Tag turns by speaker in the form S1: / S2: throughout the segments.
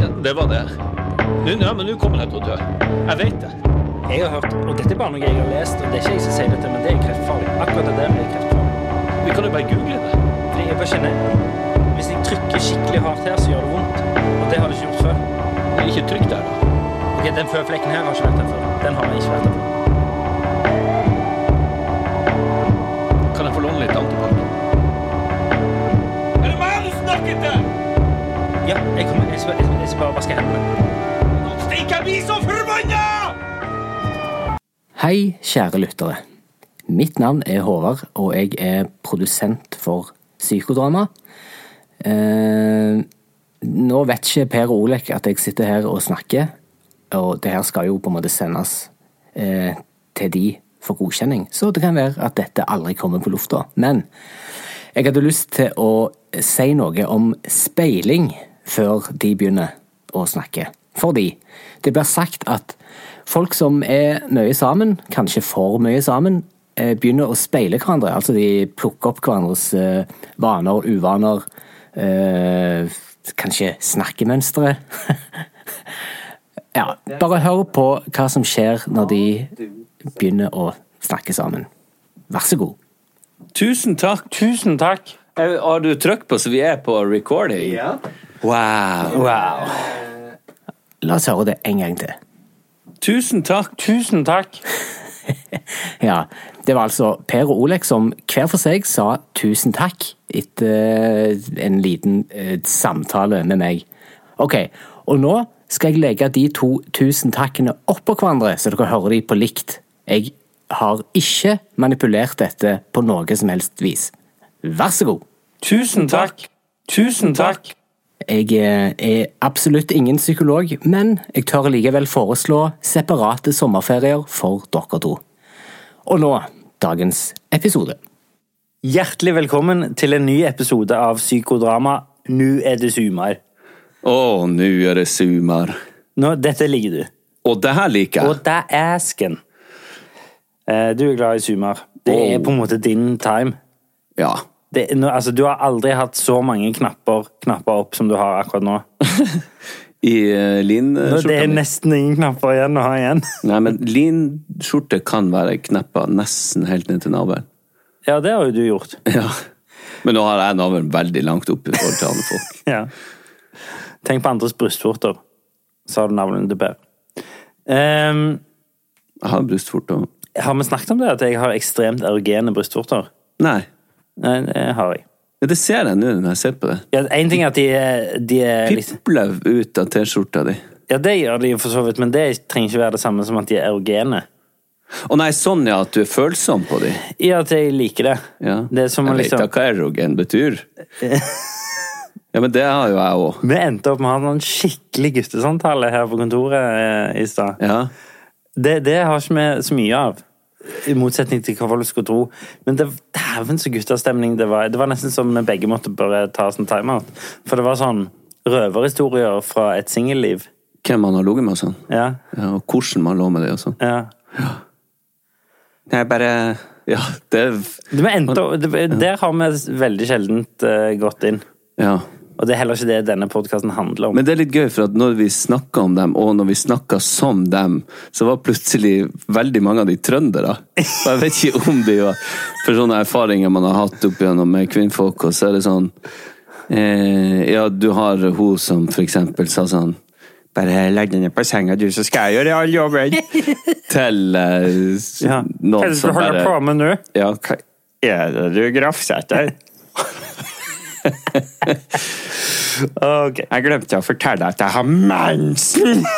S1: Ja, det var det. Nu, ja, men nu kommer jeg til å dø. Jeg vet det.
S2: Jeg har hørt, og dette er bare noe jeg har lest, og det er ikke jeg som sier dette, men det er kreftfarlig. Akkurat det der blir kreftfarlig.
S1: Vi kan jo bare google det.
S2: Fordi jeg bare kjenner, hvis jeg trykker skikkelig hardt her, så gjør det vondt. Og det har det ikke gjort før.
S1: Det er ikke trygt der, da.
S2: Ok, den føflekken her har ikke vært der før. Den har jeg ikke vært der før.
S1: Kan jeg få låne litt antibac? Er det meg du snakker til?
S2: Ja, jeg kommer, jeg skal, jeg skal, jeg skal bare vaske hendene.
S1: Nå stikker jeg bli så forbanna!
S3: Hei, kjære lyttere. Mitt navn er Håvard, og jeg er produsent for Psykodrama. Eh, nå vet ikke Per og Olek at jeg sitter her og snakker, og det her skal jo på en måte sendes eh, til de for godkjenning, så det kan være at dette aldri kommer på lufta. Men jeg hadde lyst til å si noe om speiling før de begynner å snakke. Fordi det blir sagt at folk som er mye sammen, kanskje for mye sammen, eh, begynner å speile hverandre. Altså de plukker opp hverandres eh, vaner, uvaner, eh, kanskje snakkemønstre. ja, bare hør på hva som skjer når de begynner å snakke sammen. Vær så god.
S1: Tusen takk. Eh,
S2: Tusen takk.
S1: Har du trykk på så vi er på recording? Ja. Wow.
S2: Wow.
S3: Eh, La oss høre det en gang til.
S1: Tusen takk.
S2: Tusen takk.
S3: Ja, Det var altså Per og Olek som hver for seg sa tusen takk etter en liten eh, samtale med meg. Ok, og nå skal jeg legge de to tusen takkene oppå hverandre, så dere hører de på likt. Jeg har ikke manipulert dette på noe som helst vis. Vær så god.
S2: Tusen takk. Tusen takk.
S3: Jeg eh, er absolutt ingen psykolog, men jeg tør likevel foreslå separate sommerferier for dere to. Og nå dagens episode.
S2: Hjertelig velkommen til en ny episode av Psykodrama. Nå er det sumar.
S1: Å, nå er det sumar.
S2: Nå, dette ligger du.
S1: Og det her liker
S2: Og
S1: jeg.
S2: det er asken. Eh, Du er glad i sumar. Det
S1: Oh.
S2: er på en måte din time.
S1: Ja.
S2: Det, nå, altså, du har aldri hatt så mange knapper, knapper opp som du har akkurat nå.
S1: I
S2: Nå, det er
S1: uh, linskjorta mi.
S2: nesten ingen knapper igjen å ha igjen.
S1: Nei, men linskjorte kan være kneppa nesten helt ned til navlen.
S2: Ja, det har jo du gjort.
S1: Ja. Men nå har jeg navlen veldig langt opp i forhold til andre folk.
S2: Ja. Tenk på andres brystvorter, sa du navnet til Per. Ehm,
S1: Jeg har brystvorte.
S2: har vi snakket om det, at jeg har ekstremt erogene brystvorter?
S1: Nei.
S2: Nei, det har jeg.
S1: Ja, det ser jeg nå når jeg ser på det.
S2: Ja, en ting er at de er, de er liksom- litt
S1: Pipler ut av T-skjorta di.
S2: Ja, det gjør de for så vidt, men det trenger ikke være det samme som at de er erogene.
S1: Å nei, sånn ja, at du er følsom på de.
S2: I at jeg liker det.
S1: Ja.
S2: Det er som å
S1: jeg
S2: liksom
S1: vet da hva erogen betyr. ja, men det har jo jeg òg.
S2: Vi endte opp med å ha en sånn skikkelig guttesamtale her på kontoret eh, i stad.
S1: Ja.
S2: Det, det har ikke vi så mye av. I motsetning til hva folk skulle tro. Men det dæven så guttastemning det var. Det var nesten som vi begge måtte bare ta oss en timeout. For det var sånn røverhistorier fra et singelliv.
S1: Hvem man har ligget med og sånn.
S2: Ja.
S1: Ja, og hvordan man lå med det og sånn.
S2: ja.
S1: Nei, bare Ja, det
S2: Det, vi endte, opp- det, der har vi veldig sjeldent eh, gått inn.
S1: Ja.
S2: Og det er heller ikke det denne podkasten handler om.
S1: Men det er litt gøy, for at når vi snakka om dem, og når vi snakka som dem, så var plutselig veldig mange av de trøndere. Og jeg vet ikke om de var For sånne erfaringer man har hatt opp igjennom med kvinnfolk, og så er det sånn eh, Ja, du har hun som for eksempel sa sånn Bare legg deg ned på senga, du, så skal jeg gjøre all jobben. Til eh, s-
S2: ja. Hva er
S1: noen
S2: det du
S1: som
S2: holder
S1: bare
S2: på med nå?
S1: Ja, hva er det du grafser etter?
S2: Ok.
S1: Jeg glemte å fortelle deg at jeg har mensen!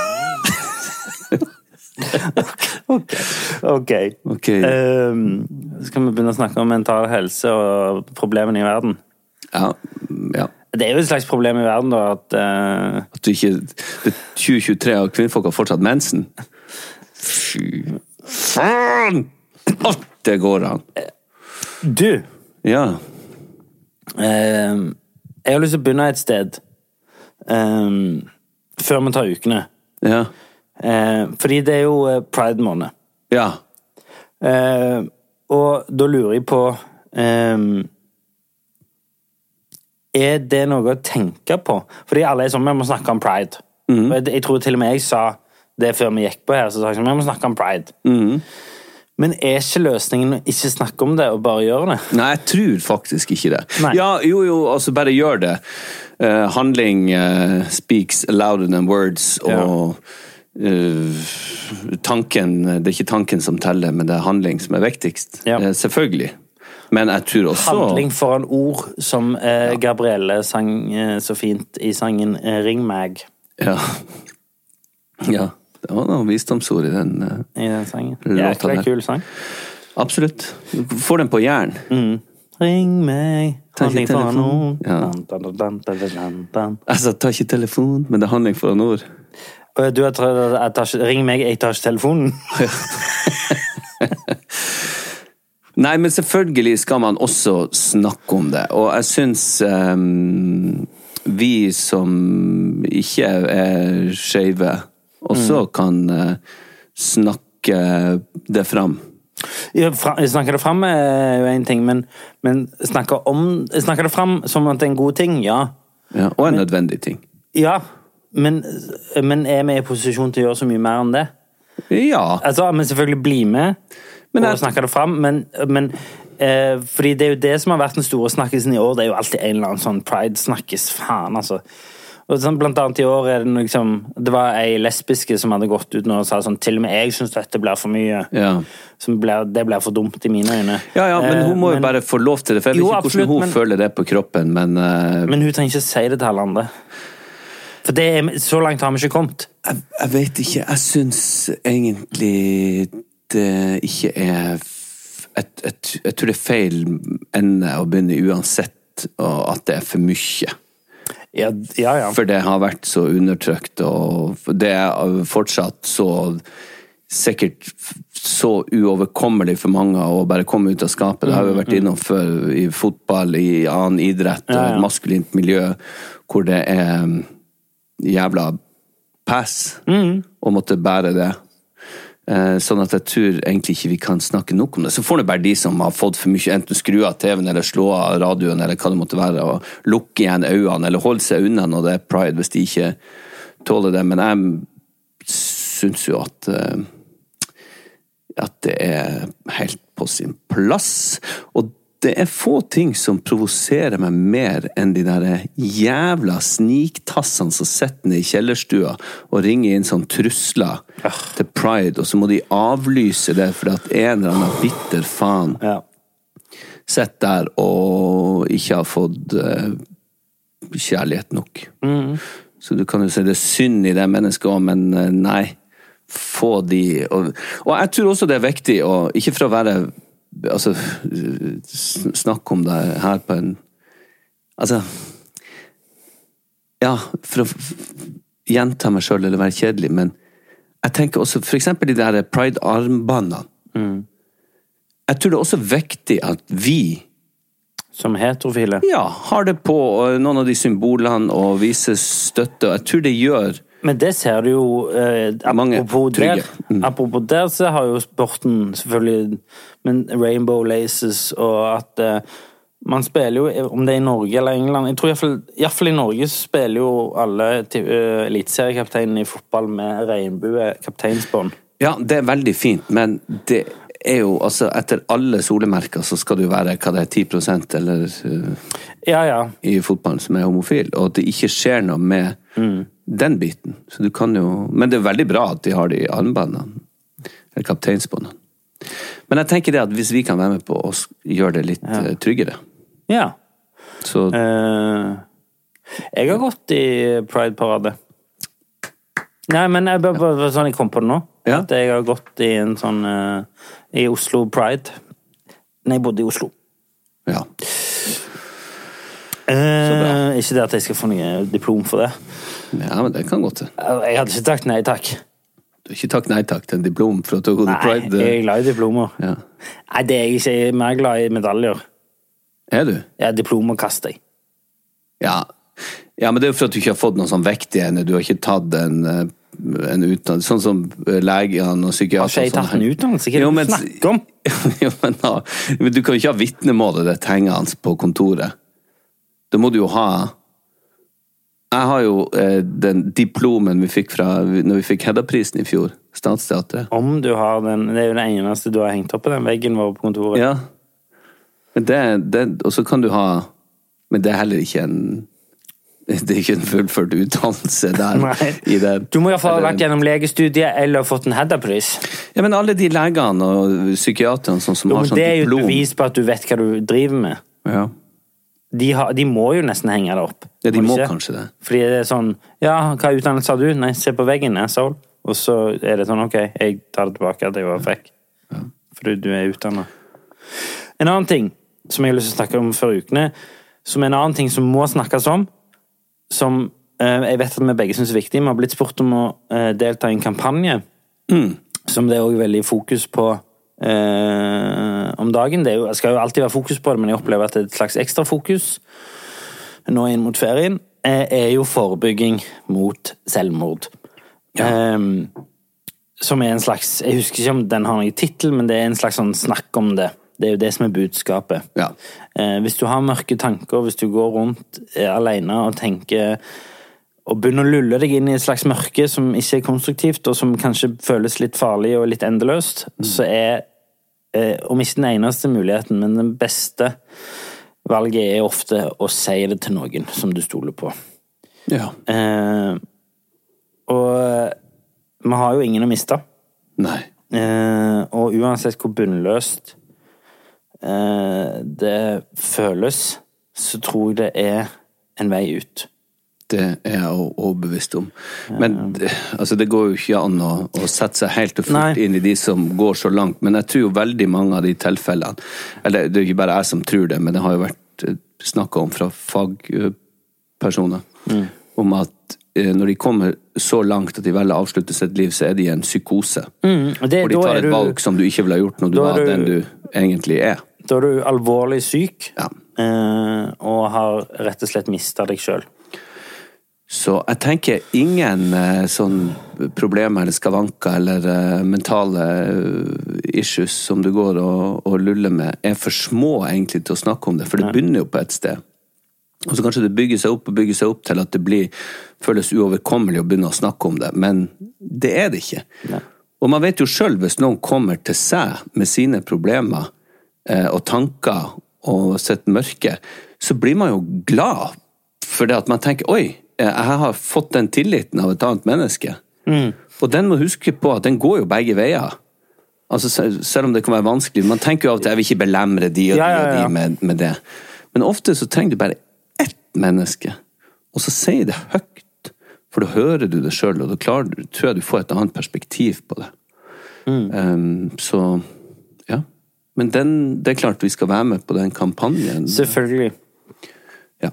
S2: Ok.
S1: Ok.
S2: Ehm, skal vi begynne å snakke om mental helse og problemene i verden?
S1: Ja, ja.
S2: Det er jo et slags problem i verden, da, at eh,
S1: At du ikke det- 2023 og kvinnfolk har fortsatt mensen? Fy faen! At det går an!
S2: Du!
S1: Ja.
S2: ehm, jeg har lyst til å begynne et sted. ehm, før vi tar ukene.
S1: Ja.
S2: Eh, fordi det er jo eh, pride-måned.
S1: Ja.
S2: Eh, og da lurer jeg på ehm, Er det noe å tenke på? Fordi alle er sånn, vi må snakke om pride. Og jeg, jeg tror til og med jeg sa det før vi gikk på her, så sa jeg sånn, vi må snakke om pride. Men er ikke løsningen å ikke snakke om det, og bare gjøre det?
S1: Nei, jeg tror faktisk ikke det.
S2: Nei.
S1: Ja, jo, jo, altså, bare gjør det. Eh, handling eh, speaks louder than words, og eh, tanken Det er ikke tanken som teller, men det er handling som er viktigst.
S2: Ja.
S1: Eh, selvfølgelig. Men jeg tror også
S2: Handling foran ord, som eh, Gabrielle sang eh, så fint i sangen eh, 'Ring meg'
S1: Ja. ja. Det var noen visdomsord i den. eh.
S2: i den sangen.
S1: Låta
S2: Jækla
S1: der.
S2: kul sang.
S1: Absolutt. Du får den på jern.
S2: Mm. Ring meg,
S1: Ta ikke
S2: handling foran
S1: telefonen.
S2: ord.
S1: Ja.
S2: Dun, dun, dun, dun, dun, dun, dun.
S1: Altså, ta ikke telefon, men det er handling foran ord.
S2: Øh, Du har tatt, jeg tar ikke, ring meg, jeg tar ikke telefonen.
S1: Nei, men selvfølgelig skal man også snakke om det. Og jeg syns ehm, vi som ikke er skeive, også
S2: Mm.
S1: kan eh, snakke det fram.
S2: Jeg fra- jeg snakker det fram er jo en ting, men, men snakker, om, jeg snakker det fram som at det er en god ting, ja.
S1: Ja, og en nødvendig ting.
S2: Ja, men, men er vi i posisjon til å gjøre så mye mer enn det?
S1: Ja.
S2: Altså, vi selvfølgelig bli med
S1: Men
S2: og
S1: jeg-
S2: snakke det fram, men, men eh, fordi det er jo det som har vært den store snakkisen i år, det er jo alltid en eller annen sånn pride-snakkes, faen, altså. Og sånn, blant annet i år er det noe liksom, det var ei lesbiske som hadde gått ut nå og sa sånn, til og med jeg synes dette blir for mye.
S1: Ja.
S2: Som blir- det blir for dumt i mine øyne.
S1: Ja, ja, men hun
S2: Eh,
S1: må jo
S2: men-
S1: bare få lov til det, for jeg vet
S2: Jo,
S1: ikke
S2: absolutt,
S1: hvordan hun
S2: men-
S1: føler det på kroppen, men eh,
S2: Men hun trenger ikke si det til alle andre. For det er, så langt har vi ikke kommet.
S1: jeg, jeg vet ikke. Jeg syns egentlig det ikke er f- jeg, jeg, jeg tror det er feil ende å begynne uansett, og at det er for mye.
S2: Ja, ja. ja.
S1: For det har vært så undertrykt, og det er fortsatt så Sikkert så uoverkommelig for mange å bare komme ut av skapet. Det har
S2: Mm,
S1: vi vært innom før i fotball, i annen idrett og
S2: Ja, ja.
S1: et maskulint miljø hvor det er mm, jævla pass å måtte bære det. Eh, Sånn at jeg tror egentlig ikke vi kan snakke nok om det. Så får det bare de som har fått for mye, enten skru av TV-en eller slå av radioen eller hva det måtte være, og lukke igjen øynene eller holde seg unna når det er pride, hvis de ikke tåler det. Men jeg syns jo at eh, at det er helt på sin plass. Og det er få ting som provoserer meg mer enn de der jævla sniktassene som sitter nede i kjellerstua og ringer inn sånn trusler til pride, og så må de avlyse det fordi at en eller annen bitter faen
S2: ja.
S1: sitter der og ikke har fått eh, kjærlighet nok. Så du kan jo si det er synd i det mennesket òg, men eh, nei. Få de og, og jeg tror også det er viktig å Ikke for å være Altså, sn- snakke om det her på en Altså Ja, for å f- f- gjenta meg sjøl eller være kjedelig, men jeg tenker også for eksempel de der pride-armbåndene. Jeg tror det er også viktig at vi
S2: Som heterofile.
S1: ja, har det på og noen av de symbolene og viser støtte. og Jeg tror det gjør
S2: Men det ser du jo eh,
S1: Mange
S2: apropos,
S1: trygge.
S2: der, apropos der, så har jo sporten selvfølgelig Men rainbow laces og at eh, Man spiller jo, om det er i Norge eller England Jeg tror iallfall, iallfall i Norge så spiller jo alle til- eh, eliteseriekapteinene i fotball med regnbue kapteinsbånd.
S1: Ja, det er veldig fint, men det er jo altså Etter alle solemerker så skal det jo være hva det er, 10 eller eh,
S2: Ja, ja.
S1: i fotballen som er homofil, og at det ikke skjer noe med den biten. Så du kan jo Men det er veldig bra at de har de armbåndene, eller kapteinsbåndene. Men jeg tenker det at hvis vi kan være med på å s- gjøre det litt eh, tryggere,
S2: Ja.
S1: så
S2: Eh, jeg har gått i Pride-parade. Nei, men jeg, bare, bare, bare sånn jeg kom på det nå.
S1: Ja.
S2: At jeg har gått i en sånn eh, I Oslo Pride. Når jeg bodde i Oslo.
S1: ja.
S2: Eh, ikke det at jeg skal få noe diplom for det. Altså,
S1: Ja, men det kan godt hende.
S2: Jeg hadde ikke sagt nei takk.
S1: Du har ikke takk nei takk til en diplom for at du har gått i
S2: Nei,
S1: pride? eh.
S2: jeg er glad i diplomer.
S1: Ja.
S2: Nei, det er jeg ikke. Jeg er mer glad i medaljer.
S1: Er du?
S2: Ja, diplomer kaster jeg.
S1: Ja. ja, men det er jo for at du ikke har fått noe sånn vektig ennå. Du har ikke tatt en, eh, en utdannelse. Sånn som eh, legene og psykiaterne.
S2: Har ikke jeg
S1: og sånn
S2: tatt en
S1: her.
S2: utdannelse? Hva er det
S1: Jo,
S2: du
S1: men-
S2: snakker om?
S1: jo, men, da- men du kan jo ikke ha vitnemålet ditt hengende på kontoret. Da må du jo ha Jeg har jo eh, den diplomen vi fikk fra når vi fikk Hedda-prisen i fjor. Statsteatret.
S2: Om du har den Det er jo det eneste du har hengt opp på den veggen vår på kontoret.
S1: Ja. Men det, det, og så kan du ha Men det er heller ikke en det er ikke en fullført utdannelse der.
S2: Nei.
S1: i den.
S2: Du må iallfall ha
S1: Eller-
S2: vært gjennom legestudiet eller fått en Hedda-pris.
S1: Ja, men alle de legene og psykiaterne sånn, som
S2: Jo,
S1: har
S2: men
S1: sånn
S2: Det er jo et
S1: diplom
S2: bevis på at du vet hva du driver med.
S1: ja.
S2: De, har, de må jo nesten henge det opp.
S1: Ja, de må
S2: ikke?
S1: kanskje det.
S2: Fordi det er sånn Ja, hva utdannelse har du? Nei, se på veggen, asshole. Og så er det sånn, OK, jeg tar det tilbake at jeg var frekk. Fordi du er utdanna. En annen ting som jeg har lyst til å snakke om før ukene, som er en annen ting som må snakkes om, som eh, jeg vet at vi begge syns er viktig. Vi har blitt spurt om å eh, delta i en kampanje som det er òg veldig fokus på eh, om dagen. Det er jo, det skal jo alltid være fokus på det, men jeg opplever at det er et slags ekstra fokus nå inn mot ferien, eh, er jo forebygging mot selvmord. Ehm, som er en slags Jeg husker ikke om den har noen tittel, men det er en slags sånn snakk om det. Det er jo det som er budskapet.
S1: Ja.
S2: Eh, hvis du har mørke tanker, hvis du går rundt eh, alene og tenker og begynner å lulle deg inn i et slags mørke som ikke er konstruktivt, og som kanskje føles litt farlig og litt endeløst, så er, eh, om ikke den eneste muligheten, men den beste valget er ofte å si det til noen som du stoler på.
S1: ja.
S2: Eh, og eh, vi har jo ingen å miste.
S1: Nei.
S2: Eh, og uansett hvor bunnløst eh, det føles, så tror jeg det er en vei ut.
S1: Det er jeg o- overbevist om. Men det- altså, det går jo ikke an å, å sette seg helt og fullt
S2: Nei.
S1: inn i de som går så langt. Men jeg tror jo veldig mange av de tilfellene Eller det er jo ikke bare jeg som tror det, men det har jo vært snakka om fra fagpersoner.
S2: Mm.
S1: Om at eh, når de kommer så langt at de velger å avslutte sitt liv, så er de i en psykose.
S2: og det-
S1: Hvor de
S2: Mm, da
S1: tar
S2: er
S1: et
S2: du-
S1: valg som du ikke ville ha gjort når du
S2: da er
S1: var
S2: du-
S1: den du egentlig er.
S2: Da er du alvorlig syk,
S1: Ja.
S2: eh, og har rett og slett mista deg sjøl.
S1: Så jeg tenker ingen eh, sånn problemer eller skavanker eller eh, mentale eh, issues som du går og, og luller med, er for små egentlig til å snakke om det, for det begynner jo på et sted. Og så kanskje det bygger seg opp og bygger seg opp til at det blir, føles uoverkommelig å begynne å snakke om det, men det er det ikke. Og man vet jo sjøl, hvis noen kommer til seg med sine problemer eh, og tanker og sitt mørke, så blir man jo glad for det at man tenker Oi, eh, jeg har fått den tilliten av et annet menneske.
S2: Mm.
S1: Og den må huske på at den går jo begge veier. Altså, sel- selv om det kan være vanskelig. Man tenker jo av og til jeg vil ikke belemre de og de,
S2: Ja, ja,
S1: og
S2: ja.
S1: de med, med det. Men ofte så trenger du bare ett menneske, og så sier det høyt. For da hører du det sjøl, og da klarer du, tror jeg du får et annet perspektiv på det. Um, så ja. Men den, det er klart vi skal være med på den kampanjen.
S2: Selvfølgelig.
S1: Ja.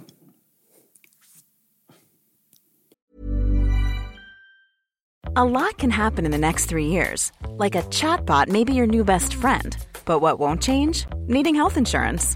S4: A lot can happen in the next three years. Like a chatbot may be your new best friend. But what won't change? Needing health insurance.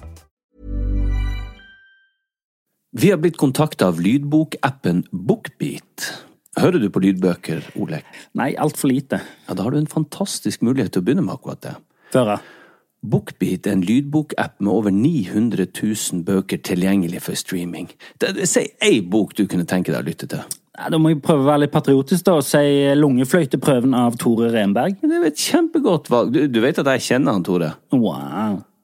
S1: Vi har blitt kontakta av lydbokappen Bookbeat. Hører du på lydbøker, Olek?
S2: Nei, altfor lite.
S1: Ja, da har du en fantastisk mulighet til å begynne med akkurat det.
S2: Før jeg.
S1: Bookbeat er en lydbokapp med over 900 000 bøker tilgjengelig for streaming. Det- det- Si ei bok du kunne tenke deg å lytte til.
S2: Nei, Da må jeg prøve å være litt patriotisk da, og si eh, Lungefløyteprøven av Tore Renberg.
S1: Det er jo et kjempegodt valg. Du, du vet at jeg kjenner han, Tore?
S2: Wow.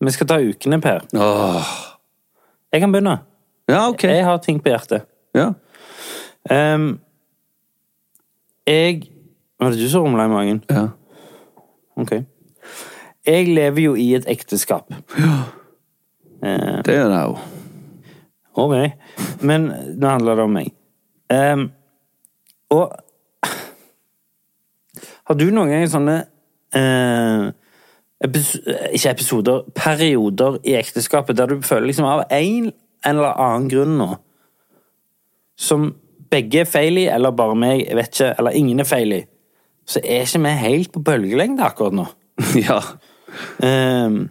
S2: Vi skal ta ukene, Per.
S1: Åh.
S2: Jeg kan begynne.
S1: Ja, ok.
S2: Jeg har ting på hjertet.
S1: Ja.
S2: Ehm, jeg Var det du som rumla i magen?
S1: Ja.
S2: Ok. Jeg lever jo i et ekteskap. Eh,
S1: Det gjør jeg jo.
S2: ok. Men nå handler det om meg. Ehm, og Har du noen ganger sånne eh, epis Ikke episoder, perioder i ekteskapet der du føler liksom av en eller annen grunn nå Som begge er feil i, eller bare meg, jeg vet ikke, eller ingen er feil i, så er ikke vi helt på bølgelengde akkurat nå.
S1: Ja.
S2: Ehm,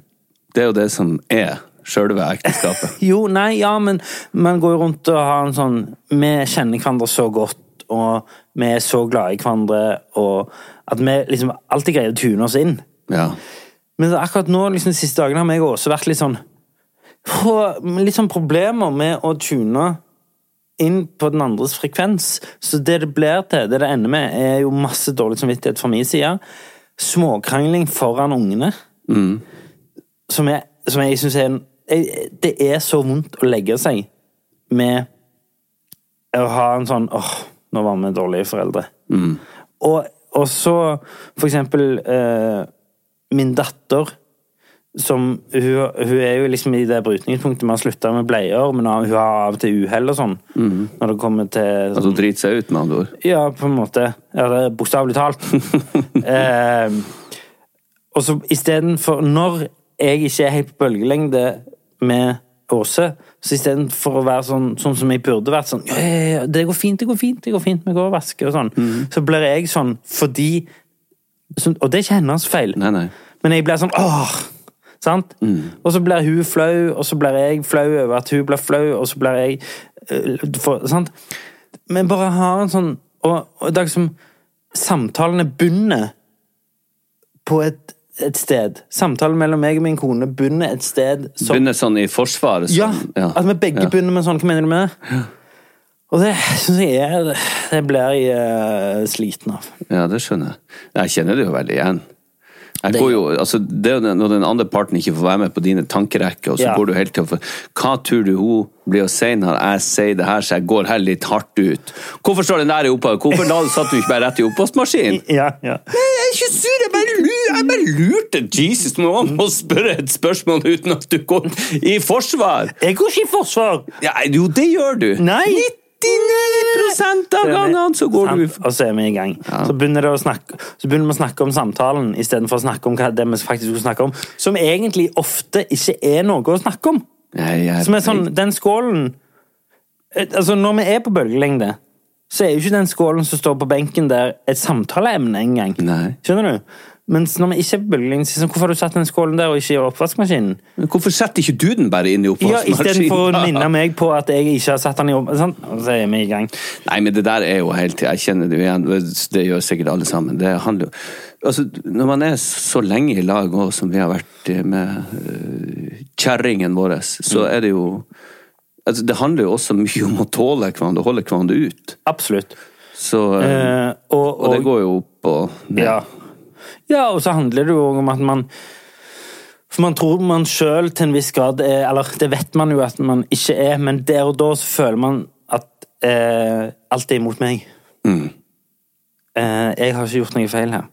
S1: Det er jo det som er sjølve ekteskapet.
S2: jo, nei, ja, men man går jo rundt og har en sånn Vi kjenner hverandre så godt, og vi er så glade i hverandre, og at vi liksom alltid greier å tune oss inn.
S1: Ja.
S2: Men akkurat nå, liksom, de siste dagene, har meg også vært litt sånn Åh, Litt sånn problemer med å tune inn på den andres frekvens. Så det det blir til, det det ender med, er jo masse dårlig samvittighet fra min side. Småkrangling foran ungene. Som, jeg, som jeg syns er en jeg, Det er så vondt å legge seg med å ha en sånn åh, nå var vi dårlige foreldre. Og, og så for eksempel eh, min datter som, hun, hun er jo liksom i det brytningspunktet med å slutte med bleier, men hun har av og til uhell og sånn. Når det kommer til
S1: At hun driter Altså, seg ut, med andre ord.
S2: ja, på en måte. Ja, det er bokstavelig talt. eh, og så istedenfor Når jeg ikke er helt på bølgelengde med Åse, så istedenfor å være sånn, sånn som jeg burde vært sånn ja, ja, ja, 'Det går fint, det går fint, det går fint, vi går og vasker' og sånn, så blir jeg sånn fordi sånn- Og det er ikke hennes feil.
S1: Nei, nei.
S2: Men jeg blir sånn åh! Sant? Og så blir hun flau, og så blir jeg flau over at hun blir flau, og så blir jeg eh, for, Sant? Men bare ha en sånn Og, og det er liksom Samtalene begynner på et, et sted. Samtalen mellom meg og min kone begynner et sted som
S1: Begynner sånn i Forsvaret.
S2: Ja,
S1: Sånn,
S2: at vi begge
S1: ja.
S2: begynner med sånn. Hva mener du med det? Og det syns jeg er Det blir jeg eh, sliten av.
S1: Ja, det skjønner jeg. Jeg kjenner det jo veldig igjen. Jeg går jo, altså, det er jo den- når den andre parten ikke får være med på dine tankerekker, og så
S2: Ja.
S1: går du helt til å få Hva tror du hun blir å si når jeg sier det her, så jeg går her litt hardt ut? Hvorfor står den der i opphavet? Hvorfor da satt du ikke bare rett i oppvaskmaskinen?
S2: Ja, ja.
S1: Jeg er ikke sur, jeg bare, lu- jeg bare lurte Jesus nå om å spørre et spørsmål uten at du går i forsvar!
S2: Jeg går ikke i forsvar!
S1: Ja, jo, det gjør du!
S2: Nei!
S1: 99 av gangene så går du i
S2: Og så er vi i gang. Så begynner det å snakke Så begynner vi å snakke om samtalen istedenfor å snakke om hva det vi faktisk skulle snakke om. Som egentlig ofte ikke er noe å snakke om.
S1: Nei, jeg-
S2: Som er sånn, den skålen eh, Altså, når vi er på bølgelengde, så er jo ikke den skålen som står på benken der, et samtaleemne engang.
S1: Nei.
S2: Skjønner du? Mens når vi ikke er på bølgelengde, så er det sånn, hvorfor har du satt den skålen der og ikke i oppvaskmaskinen?
S1: Men Hvorfor setter ikke du den bare inn i
S2: Ja,
S1: oppvaskmaskinen?
S2: Istedenfor å minne meg på at jeg ikke har satt den i oppvaskmaskinen. Sånn, og så er vi i gang.
S1: Nei, men det der er jo helt Jeg kjenner det jo igjen. Det gjør sikkert alle sammen. Det handler jo Altså, når man er så lenge i lag òg, som vi har vært eh, med eh, kjerringen vår, så
S2: Mm.
S1: er det jo altså, Det handler jo også mye om å tåle hverandre, holde hverandre ut.
S2: Absolutt.
S1: Så eh,
S2: Eh, og,
S1: Og det
S2: og,
S1: går jo opp og ned.
S2: Ja. ja, og så handler det jo om at man For man tror man sjøl til en viss grad er Eller det vet man jo at man ikke er, men der og da så føler man at eh, alt er imot meg.
S1: Mm.
S2: Eh, jeg har ikke gjort noe feil her.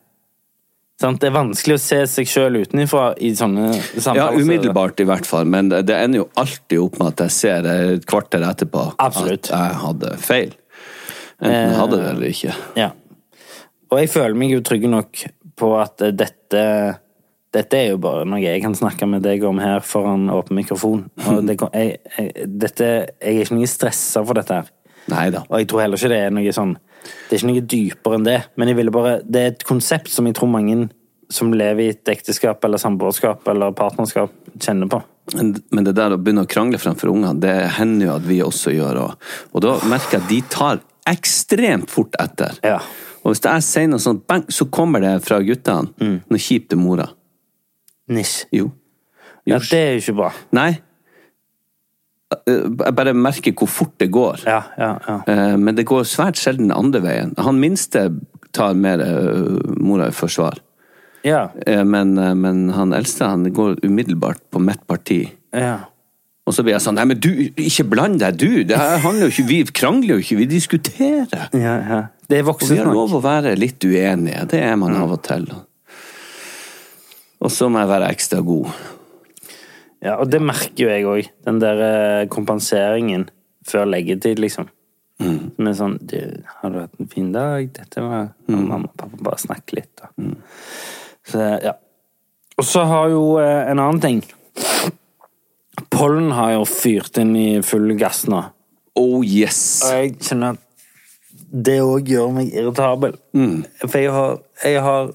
S2: Sant? Det er vanskelig å se seg sjøl utenfra i sånne
S1: Ja,
S2: samtaler.
S1: umiddelbart i hvert fall, men det ender jo alltid opp med at jeg ser det et kvarter etterpå
S2: Absolutt. Eh,
S1: at jeg hadde feil. Enten jeg hadde det eller ikke.
S2: Ja. Og jeg føler meg jo trygg nok på at eh, dette dette er jo bare noe jeg kan snakke med deg om her foran åpen mikrofon. Og det, kan- jeg, jeg, dette, jeg er ikke noe stressa for dette her.
S1: Nei da.
S2: Og jeg tror heller ikke det er noe sånn Det er ikke noe dypere enn det. Men jeg ville bare, det er et konsept som jeg tror mange som lever i et ekteskap eller samboerskap eller partnerskap, kjenner på.
S1: Men, men det der å begynne å krangle fremfor ungene, det hender jo at vi også gjør òg. Og da merker jeg at de tar ekstremt fort etter.
S2: Ja.
S1: Og hvis jeg sier noe sånt, bang, så kommer det fra guttene.
S2: Mm.
S1: Noe kjipt til mora.
S2: Nisj.
S1: Jo.
S2: Ja, det er jo ikke bra.
S1: Nei. Eh, Jeg bare merker hvor fort det går.
S2: Ja, ja, ja.
S1: Eh, Men det går svært sjelden den andre veien. Han minste tar mer eh, mora i forsvar.
S2: Ja.
S1: Eh, Men, eh, men han eldste han går umiddelbart på mitt parti.
S2: ja.
S1: Og så blir jeg sånn Nei, men du, ikke bland deg, du! Det her handler jo ikke, Vi krangler jo ikke, vi diskuterer!
S2: ja, ja. Det er
S1: Og vi
S2: voksent
S1: har
S2: nok.
S1: lov å være litt uenige. Det er man av og til. Og så må jeg være ekstra god.
S2: Ja, og det merker jo jeg òg. Den der eh, kompenseringen før leggetid, liksom. Som er sånn du, 'Har du hatt en fin dag? Dette var Og Mamma og pappa bare snakke litt, da. Så, ja. Og så har jo eh, en annen ting Pollen har jo fyrt inn i full gass nå.
S1: Oh yes!
S2: Og jeg kjenner at det òg gjør meg irritabel. For jeg har, jeg har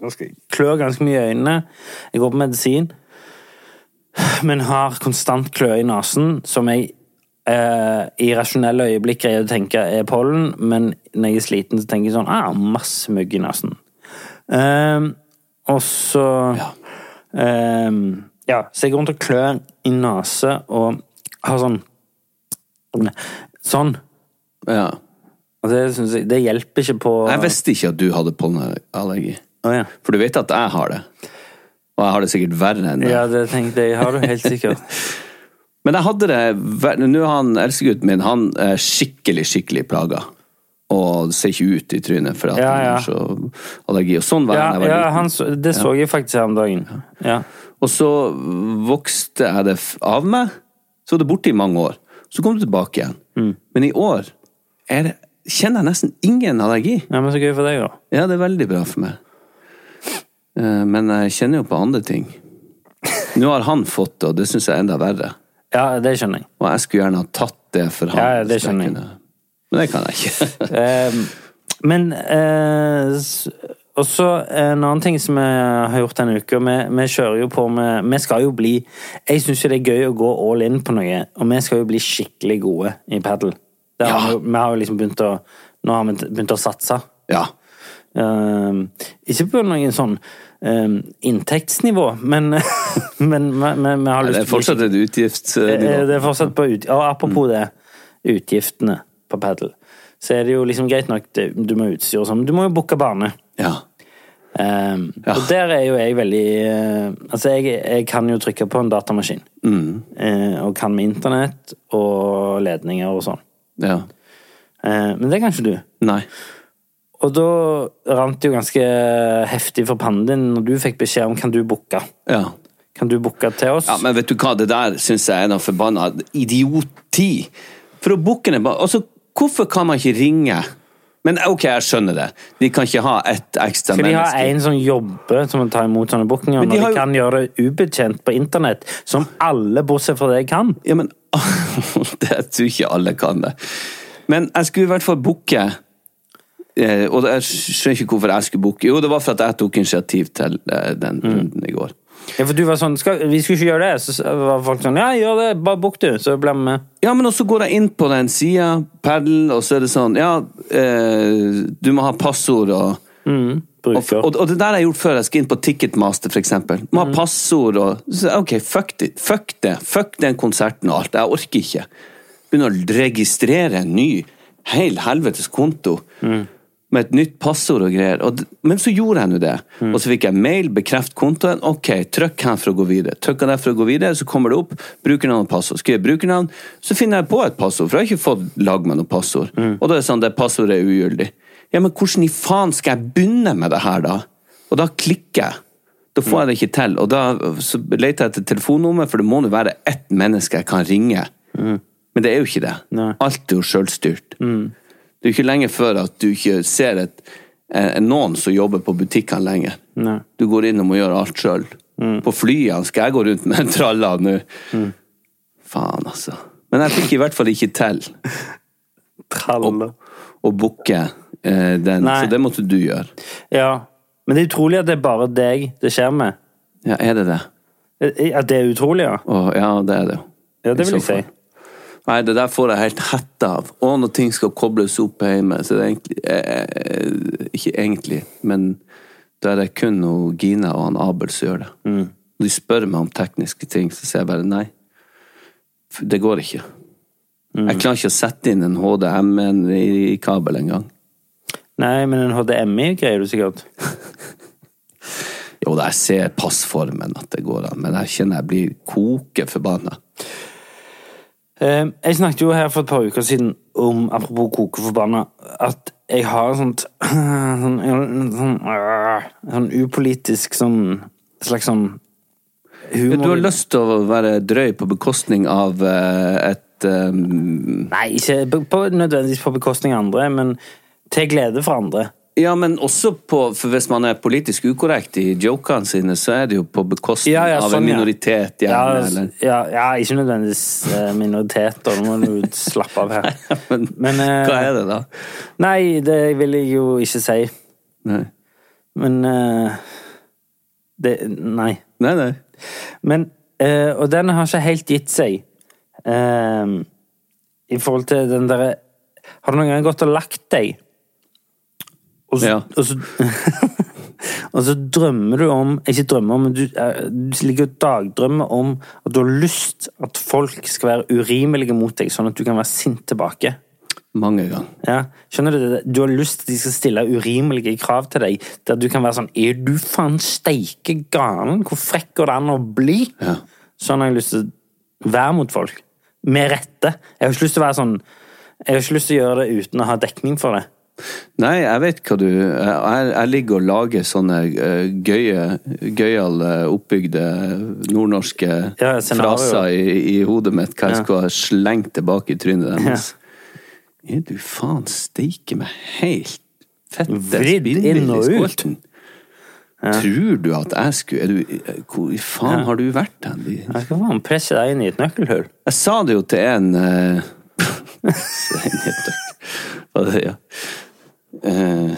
S2: nå skal jeg klør ganske mye i øynene. Jeg går på medisin, men har konstant klø i nesen, som jeg eh, i rasjonelle øyeblikk greier å tenke er pollen, men når jeg er sliten, så tenker jeg sånn ah, masse mugg i nesen. Ehm, og så
S1: Ja.
S2: Ehm, ja, så jeg går rundt og klør i nese og har sånn Sånn.
S1: Ja.
S2: Og det, synes jeg, det hjelper ikke på
S1: Jeg visste ikke at du hadde pollenallergi.
S2: Å, ja.
S1: For du vet at jeg har det. Og jeg har det sikkert verre enn det.
S2: ja, det tenkte jeg. Har du helt sikkert.
S1: Men jeg hadde det ver- Nå er han eldstegutten min han er skikkelig, skikkelig plaga. Og ser ikke ut i trynet for at
S2: Ja, ja.
S1: han har så allergi. Og sånn var
S2: Ja,
S1: han da jeg
S2: ja
S1: var liten.
S2: han, så- det så jeg faktisk her om dagen. Ja.
S1: Og så vokste jeg det f- av meg. Så var det borte i mange år. Så kom det tilbake igjen.
S2: Mm.
S1: Men i år er det, kjenner jeg nesten ingen allergi.
S2: ja, men så gøy for deg, da.
S1: Ja, det er veldig bra for meg. Eh, Men jeg kjenner jo på andre ting. Nå har han fått det, og det syns jeg er enda verre.
S2: Ja, det skjønner jeg.
S1: Og jeg skulle gjerne ha tatt det for han.
S2: Ja, ja, det
S1: hvis jeg
S2: skjønner jeg.
S1: kunne. Men det kan jeg ikke.
S2: Ehm, men eh, s- også en annen ting som vi har gjort denne uka. Vi, vi kjører jo på med Vi skal jo bli Jeg syns jo det er gøy å gå all in på noe, og vi skal jo bli skikkelig gode i padel. Det har
S1: Ja.
S2: vi jo- Vi har jo liksom begynt å Nå har vi t- begynt å satse.
S1: Ja.
S2: Ehm, ikke på noen sånn ehm, inntektsnivå, men Men vi- vi vi har
S1: Nei,
S2: lyst
S1: det er fortsatt et Mm.
S2: Eh,
S1: utgiftsnivå.
S2: Det er fortsatt på ut... Og apropos det, utgiftene på padel, så er det jo liksom greit nok, det- du må ha utstyr og sånn, men du må jo booke bane.
S1: Ja.
S2: Ehm,
S1: Ja.
S2: Og der er jo jeg veldig eh, Altså, jeg, jeg kan jo trykke på en datamaskin.
S1: Mm.
S2: Eh, og kan med internett og ledninger og sånn.
S1: ja.
S2: Eh, men det kan ikke du.
S1: Nei.
S2: Og da rant det jo ganske heftig for pannen din når du fikk beskjed om kan du booke.
S1: Ja.
S2: Kan du booke til oss?
S1: ja. Men vet du hva, det der syns jeg er noe forbanna idioti. For å booke ned ba- Altså, hvorfor kan man ikke ringe? Men OK, jeg skjønner det. De kan ikke ha ett ekstra
S2: Skal de ha
S1: menneske.
S2: en som jobber som tar imot sånne bookinger,
S1: Men
S2: når
S1: de
S2: de
S1: har jo-
S2: kan gjøre det ubetjent på internett, som alle bortsett fra deg kan?
S1: Ja, men det, Jeg tror ikke alle kan det. Men jeg skulle i hvert fall booke eh, Og jeg skjønner ikke hvorfor jeg skulle booke. Jo, det var for at jeg tok initiativ til eh, den
S2: Mm.
S1: runden i går.
S2: Ja, for du var sånn skal, 'Vi skulle ikke gjøre det.' Så var folk sånn 'Ja, gjør det. Bare book, du.' Så ble vi med.
S1: Ja, men også går jeg inn på den sida, padel, og så er det sånn Ja, eh, du må ha passord og
S2: Mm.
S1: og,
S2: Bruker.
S1: og, og det der har jeg gjort før. Jeg skal inn på Ticketmaster, for eksempel. Må ha passord og så, Ok, fuck det. Fuck det. Fuck den konserten og alt. Jeg orker ikke. Begynner å registrere en ny hel helvetes konto med et nytt passord og greier. Og, d- men så gjorde jeg nå det. Og så fikk jeg mail, bekreft kontoen. Ok, trykk her for å gå videre. Trykker der for å gå videre, så kommer det opp brukernavn og passord. Skriver brukernavn, så finner jeg på et passord, for jeg har ikke fått lag med noe passord. Og da er det sånn, det passordet er ugyldig. Ja, men hvordan i faen skal jeg begynne med det her, da? Og da klikker jeg. Da får jeg det ikke til. Og da så leter jeg etter telefonnummer, for det må jo være ett menneske jeg kan ringe. Men det er jo ikke det.
S2: Nei. Mm.
S1: Alt er jo sjølstyrt. Det er jo ikke lenge før at du ikke ser et, eh, noen som jobber på butikkene lenger.
S2: Nei. Mm.
S1: Du går inn og må gjøre alt sjøl. På flyene skal jeg gå rundt med en tralla nå. Faen, altså. Men jeg fikk i hvert fall ikke til
S2: Tralle.
S1: å booke eh, den,
S2: Nei.
S1: så det måtte du gjøre.
S2: Ja. Men det er utrolig at det er bare deg det skjer med.
S1: Ja, er det det?
S2: Eh, At det er utrolig, ja.
S1: Åh, ja, det er det jo.
S2: Ja, det vil
S1: I
S2: jeg
S1: så
S2: si.
S1: fall. Nei, det der får jeg helt hette av. Og når ting skal kobles opp hjemme, så det er egentlig eh, eh, Ikke egentlig, men da er det kun hun Gina og han Abel som gjør det.
S2: Mm.
S1: Når de spør meg om tekniske ting, så sier jeg bare nei. For Det går ikke.
S2: Mm.
S1: Jeg klarer ikke å sette inn en HDMI-en i i kabel engang.
S2: Nei, men en HDMI greier du sikkert.
S1: Jo da, jeg ser passformen at det går an, men jeg kjenner jeg blir koke forbanna.
S2: Eh, Jeg snakket jo her for et par uker siden om, apropos koke forbanna, at jeg har en sånt sånn, en sånn, øh, sånn upolitisk sånn slags sånn
S1: Ja,
S2: humor
S1: Du har lyst til å være drøy på bekostning av eh, et eh,
S2: Nei, ikke på, på, nødvendigvis på bekostning av andre, men til glede for andre.
S1: Ja, men også på For hvis man er politisk ukorrekt i jokene sine, så er det jo på bekostning
S2: Ja, ja,
S1: av
S2: sånn,
S1: en
S2: ja.
S1: minoritet, gjerne.
S2: Ja, altså,
S1: eller,
S2: ja, ja, ikke nødvendigvis eh, minoriteter. Nå må du slappe av her.
S1: men,
S2: Men, eh,
S1: hva er det, da?
S2: Nei, det vil jeg jo ikke si.
S1: Nei.
S2: Men eh, det, Nei.
S1: Nei, nei.
S2: Men, eh, og den har ikke helt gitt seg. Ehm, I forhold til den derre Har du noen gang gått og lagt deg, og så,
S1: Ja.
S2: og så, og så drømmer du om Ikke drømmer om, men du, eh, du ligger og dagdrømmer om at du har lyst at folk skal være urimelige mot deg, sånn at du kan være sint tilbake.
S1: Mange ganger.
S2: Ja, skjønner Du det? Du har lyst til at de skal stille urimelige krav til deg, der du kan være sånn Er du faen steike galen? Hvor frekk går det an å bli? Sånn har jeg lyst til å være mot folk. Med rette. Jeg har ikke lyst til å være sånn Jeg har ikke lyst til å gjøre det uten å ha dekning for det.
S1: Nei, jeg vet hva du Jeg, jeg ligger og lager sånne eh, gøye, gøyale, oppbygde nordnorske
S2: Ja, scenario.
S1: fraser i, i hodet mitt, hva jeg skal slenge tilbake i trynet deres. Er du faen steike meg helt fette
S2: Vridd
S1: spinnvill
S2: inn og ut.
S1: i skolten? Tror du at jeg skulle er du, eh, Hvor i faen har du vært hen? de-
S2: Jeg skal faen presse deg inn i et nøkkelhull.
S1: jeg sa det jo til en eh, Svein heter han. Var det, ja. Eh,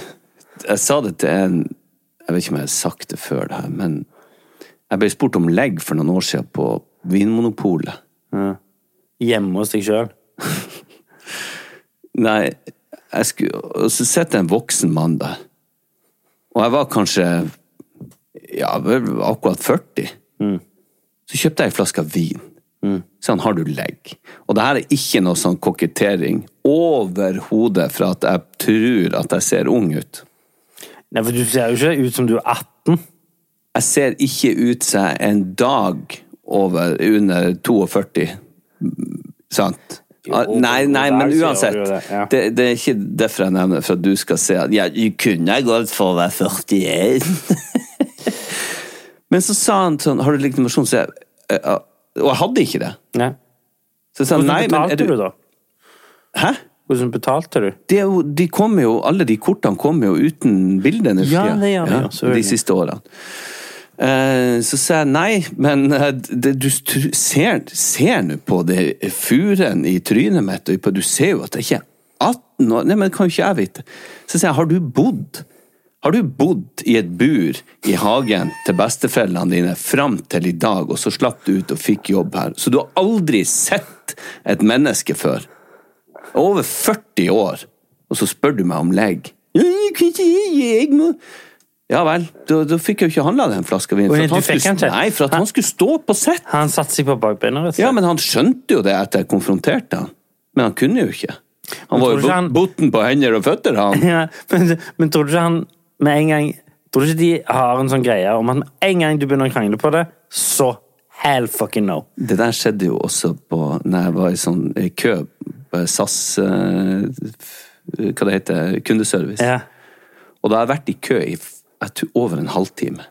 S1: Jeg sa det til en Jeg vet ikke om jeg har sagt det før det her, men jeg ble spurt om legg for noen år siden på Vinmonopolet.
S2: Hjemme hos deg sjøl.
S1: Nei, jeg skulle, og så sitter en voksen mann der. Og jeg var kanskje ja, vel akkurat 40. Så kjøpte jeg ei flaske vin. Så han har du legg. Og det her er ikke noe sånn kokettering overhodet for at jeg tror at jeg ser ung ut.
S2: Nei, for du ser jo ikke ut som du er 18.
S1: Jeg ser ikke ut seg en dag over, under 42. Sant? Ah, nei, nei,
S2: der
S1: men
S2: ser du
S1: uansett.
S2: jo det, ja.
S1: Det, det er ikke derfor jeg nevner det, for at du skal se at ja, du kunne gått for å være 41. men så sa han sånn, har du legitimasjon? Så jeg, eh, ah, og jeg hadde ikke det.
S2: Nei.
S1: Så jeg sa
S2: Hvordan
S1: nei, men
S2: betalte
S1: er
S2: du... da?
S1: Hæ?
S2: Hvordan betalte du?
S1: det er jo, de kommer jo, alle de kortene kommer jo uten bilder nå for
S2: Ja,
S1: tida.
S2: det gjør de jo, selvfølgelig.
S1: de siste årene. Eh, så sa jeg nei, men eh, det, du tr- ser ser nå på det furen i trynet mitt, og på- du ser jo at jeg ikke er 18 år Nei, men det kan jo ikke jeg vite. Så sier jeg, har du bodd? Har du bodd i et bur i hagen til bestefellene dine fram til i dag, og så slapp du ut og fikk jobb her? Så du har aldri sett et menneske før? Jeg er over 40 år, og så spør du meg om legg. Ja, jeg kan ikke gi, jeg må- Ja vel, da, da fikk jeg jo ikke handla den flaska vin. For
S2: Oi,
S1: at, han
S2: du fikk den
S1: skulle,
S2: ikke?
S1: nei, for at han skulle stå på sett!
S2: Han satte seg på bakbeina. rett og slett.
S1: Ja, men han skjønte jo det etter jeg konfronterte han. Men han kunne jo ikke. Han var
S2: tror du
S1: jo
S2: ikke
S1: bo-
S2: han-
S1: botten på hender og føtter, han.
S2: Ja, men, men tror du ikke han med en gang Tror du ikke de har en sånn greie om at med en gang du begynner å krangle på det, så hell fucking no.
S1: Det der skjedde jo også på Når jeg var i sånn i kø på SAS eh, f- Hva det heter Kundeservice.
S2: Ja.
S1: Og da har jeg vært i kø i f- jeg tror, over en halvtime.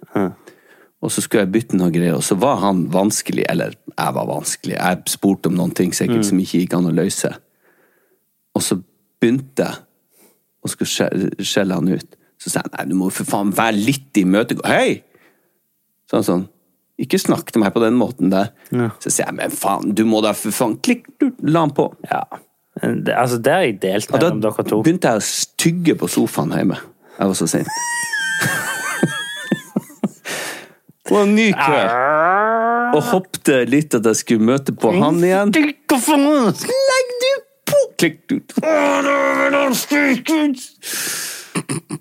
S1: Og så skulle jeg bytte noe greier, og så var han vanskelig, eller jeg var vanskelig, jeg spurte om noen ting sikkert som ikke gikk an å løse. Og så begynte jeg å skulle skje- skjelle han ut. Så sa jeg nei, du må jo for faen være litt imøtegående. Hei! Så han sånn, ikke snakk til meg på den måten der. Så sier jeg, men faen, du må da for faen Klikk, du, la han på.
S2: ja. Det, altså, det har jeg delt
S1: Og da
S2: mellom dere to.
S1: begynte jeg å stygge på sofaen hjemme. Jeg var så sint. Og en ny kø. Og håpte litt at jeg skulle møte på han igjen. Legg du på! Klikk ut.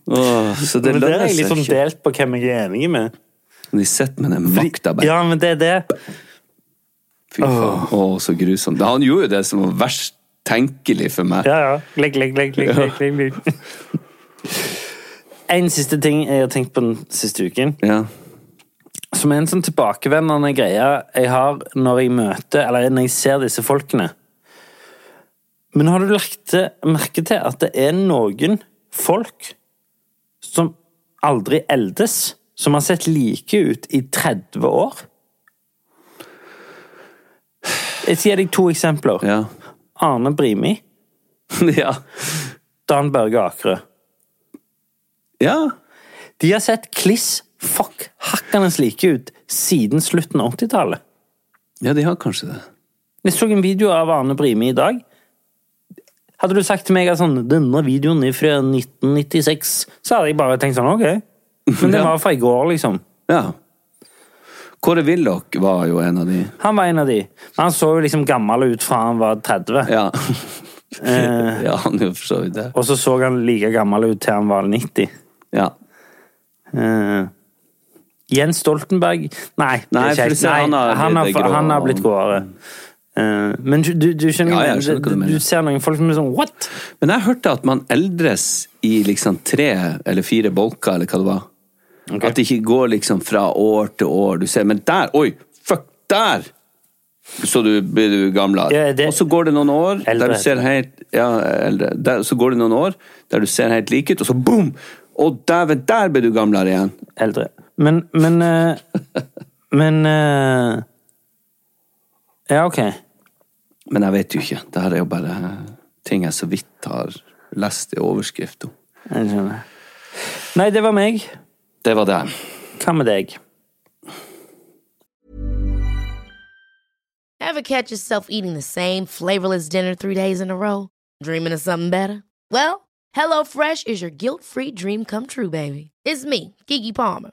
S1: Åh, Så det
S2: Men det har
S1: lønner
S2: jeg
S1: seg
S2: liksom
S1: ikke.
S2: delt på hvem jeg er enig med.
S1: De sitter med den makta bare.
S2: Ja, men det er det.
S1: Fy faen. Åh, så grusomt. Han gjorde jo det som var verst tenkelig for meg.
S2: Ja, ja. Legg, legg, legg, legg, legg, legg, legg. En siste ting jeg har tenkt på den siste uken.
S1: Ja.
S2: som er en sånn tilbakevendende greie jeg har når jeg møter, eller når jeg ser disse folkene. Men har du lagt til- merke til at det er noen folk som aldri eldes, som har sett like ut i 30 år? Jeg skal gi deg to eksempler.
S1: Ja.
S2: Arne Brimi,
S1: Ja.
S2: Dan Børge Akerø.
S1: ja.
S2: De har sett kliss fuck hakkende like ut siden slutten av 80-tallet.
S1: Ja, de har kanskje det.
S2: Jeg så en video av Arne Brimi i dag. Hadde du sagt til meg at sånn, denne videoen er fra 1996, så hadde jeg bare tenkt sånn, ok. Men det
S1: Ja.
S2: var fra i går, liksom.
S1: Ja. Kåre Willoch var jo en av de.
S2: Han var en av de. Men han så jo liksom gammel ut fra han var 30.
S1: Ja.
S2: Eh.
S1: ja, han er jo for så vidt det.
S2: Og så så han like gammel ut til han var 90.
S1: Ja.
S2: Eh, Jens Stoltenberg Nei, det er
S1: Nei,
S2: ikke
S1: for
S2: helt-
S1: du ser, han har
S2: han,
S1: blitt
S2: har,
S1: grå.
S2: han har blitt gråere. Eh, men du, du, du skjønner,
S1: Ja,
S2: hva
S1: jeg
S2: jeg
S1: skjønner hva du
S2: mener.
S1: mener.
S2: du ser noen folk som er sånn What?!
S1: Men jeg hørte at man eldres i liksom tre eller fire bolker, eller hva det var. At det ikke går liksom fra år til år. Du ser, men der, oi, fuck, der! Så du blir du gamlere.
S2: Ja, det-
S1: Og så går det noen år
S2: Eldre
S1: der du ser helt Ja, eldre. Der, så går det noen år der du ser helt lik ut, og så boom! Og dæven, der blir du gamlere igjen!
S2: eldre. Men Men, eh, men eh, Ja, ok.
S1: Men jeg vet jo ikke. Det her er jo bare ting jeg så vidt har lest i overskrift om.
S2: Jeg skjønner. Nei, det var meg.
S1: Det var det.
S2: Hva med deg?
S5: Ever catch yourself eating the same flavorless dinner three days in a row? Dreaming of something better? Well, HelloFresh is your guilt free dream come true, baby. It's me, Kiki Palmer.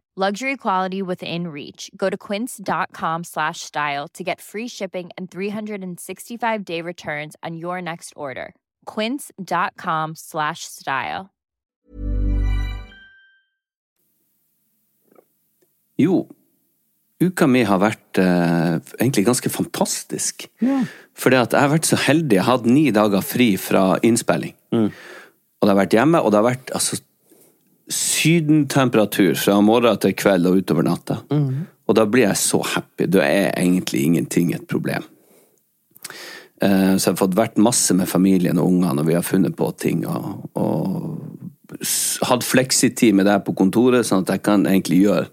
S6: Luxury quality within reach. Go to quince.com slash style to get free shipping and 365 day returns on your next order. Quince.com slash style.
S1: Jo, uka mi har vært eh, egentlig ganske fantastisk. Fordi at jeg har vært så heldig. Jeg har hatt ni dager fri fra innspilling. Og det har vært hjemme, og det har vært altså, sydentemperatur fra morgen til kveld og utover natta. Og da blir jeg så happy. Da er egentlig ingenting et problem. Eh, Så jeg har fått vært masse med familien og ungene, og vi har funnet på ting. Og, og s- hatt fleksitid med deg på kontoret, sånn at jeg kan egentlig gjøre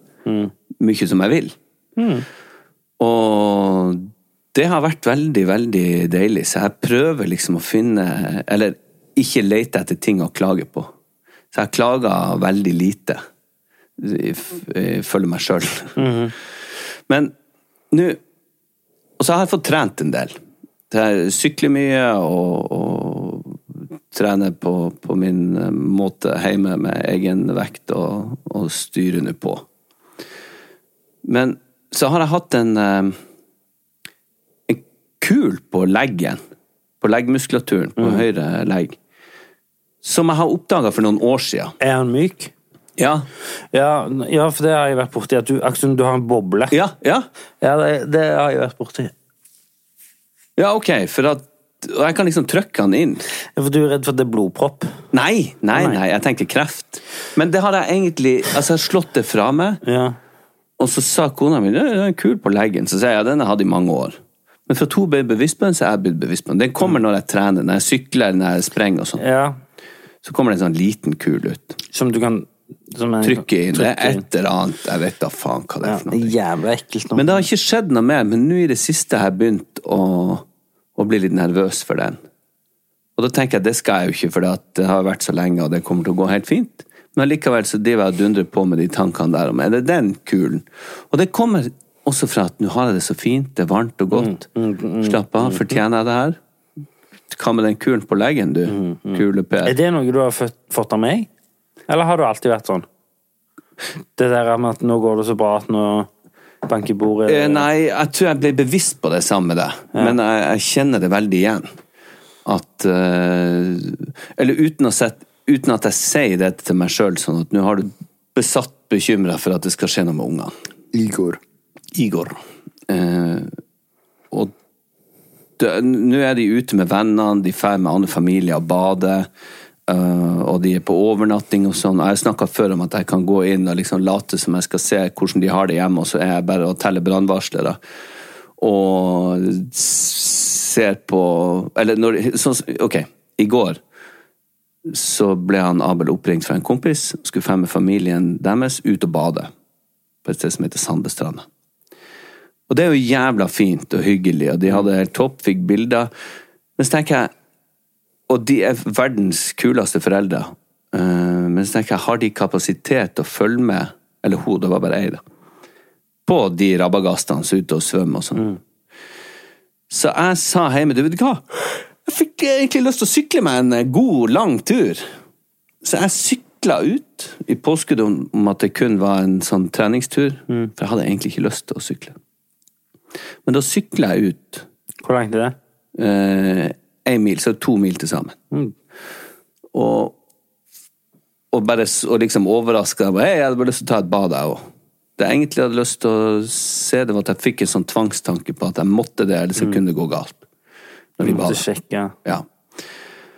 S1: mye som jeg vil. Og det har vært veldig, veldig deilig, så jeg prøver liksom å finne Eller ikke lete etter ting å klage på. Så jeg klager veldig lite, ifølge meg sjøl. Men nå Og så har jeg fått trent en del. Jeg sykler mye og, og trener på, på min eh, måte hjemme med egen vekt og, og styrer nå på. Men så har jeg hatt en, eh, en kul på leggen, på leggmuskulaturen, på høyre legg, som jeg har oppdaga for noen år siden.
S2: Er han myk?
S1: Ja,
S2: Ja, n- ja, for det har jeg vært borti. At du, akkurat som du har en boble.
S1: ja, ja.
S2: Ja, det, det har jeg vært borti.
S1: ja ok, for at og jeg kan liksom trykke han inn.
S2: Ja, For du er redd for at det er blodpropp?
S1: Nei, nei, nei, jeg tenker kreft. Men det har jeg egentlig altså jeg har slått det fra meg.
S2: Ja.
S1: Og så sa kona mi den er kul på leggen. Så sier jeg ja, den har jeg hatt i mange år. Men fra to ble bevisst på den, så er jeg blitt bevisst på den. Den kommer når jeg trener, når jeg sykler, når jeg sprenger og sånn.
S2: ja.
S1: Så kommer det en sånn liten kul ut.
S2: Som du kan som en,
S1: Trykke inn. Det er
S2: trykke inn.
S1: et eller annet. Jeg vet da faen hva det
S2: Ja,
S1: er for
S2: det er
S1: noe.
S2: jævla ekkelt nå.
S1: Men det har ikke skjedd noe mer. Men nå i det siste har jeg begynt å, å bli litt nervøs for den. Og da tenker jeg det skal jeg jo ikke, for det at det har vært så lenge, og det kommer til å gå helt fint. Men allikevel så driver jeg og dundrer på med de tankene der om er det den kulen? Og det kommer også fra at nå har jeg det så fint, det er varmt og godt. Slapp av, fortjener jeg det her? Hva med den kulen på leggen, du? Kule Per.
S2: Er det noe du har fått, fått av meg? Eller har du alltid vært sånn? Det der med at nå går det så bra at nå banker bordet
S1: Eh, Nei, jeg tror jeg ble bevisst på det samme med deg, men jeg, jeg kjenner det veldig igjen. At eh, Eller uten, å sett, uten at jeg sier det til meg sjøl, sånn at nå har du besatt bekymra for at det skal skje noe med ungene.
S7: Igor.
S1: Igor. Eh, og det- nå er de ute med vennene, de drar med andre familier og bader. eh, og de er på overnatting og sånn. Jeg har snakka før om at jeg kan gå inn og liksom late som jeg skal se hvordan de har det hjemme, og så er jeg bare og teller brannvarslere. Og s- ser på Eller når sånn, Ok, i går så ble han Abel oppringt fra en kompis, skulle fære med familien deres ut og bade på et sted som heter Sandestranda. Og det er jo jævla fint og hyggelig, og de hadde helt topp, fikk bilder. Men så tenker jeg Og de er verdens kuleste foreldre. Eh, Men så tenker jeg, har de kapasitet til å følge med, eller hun, det var bare ei, da, på de rabagastene som er ute og svømmer og sånn. Så jeg sa hjemme, du vet hva, jeg fikk egentlig lyst til å sykle meg en god, lang tur. Så jeg sykla ut i påskudd om om at det kun var en sånn treningstur, for jeg hadde egentlig ikke lyst til å sykle. Men da sykla jeg ut
S2: Hvor langt er det?
S1: eh, én mil, så er det to mil til sammen.
S2: Mm.
S1: Og, og bare s- og liksom overraska. Hei, jeg hadde bare lyst til å ta et bad, jeg òg. Det jeg egentlig hadde lyst til å se, det var at jeg fikk en sånn tvangstanke på at jeg måtte det, ellers så kunne det gå galt. Når vi
S2: Du Mm. måtte
S1: bader.
S2: sjekke.
S1: Ja.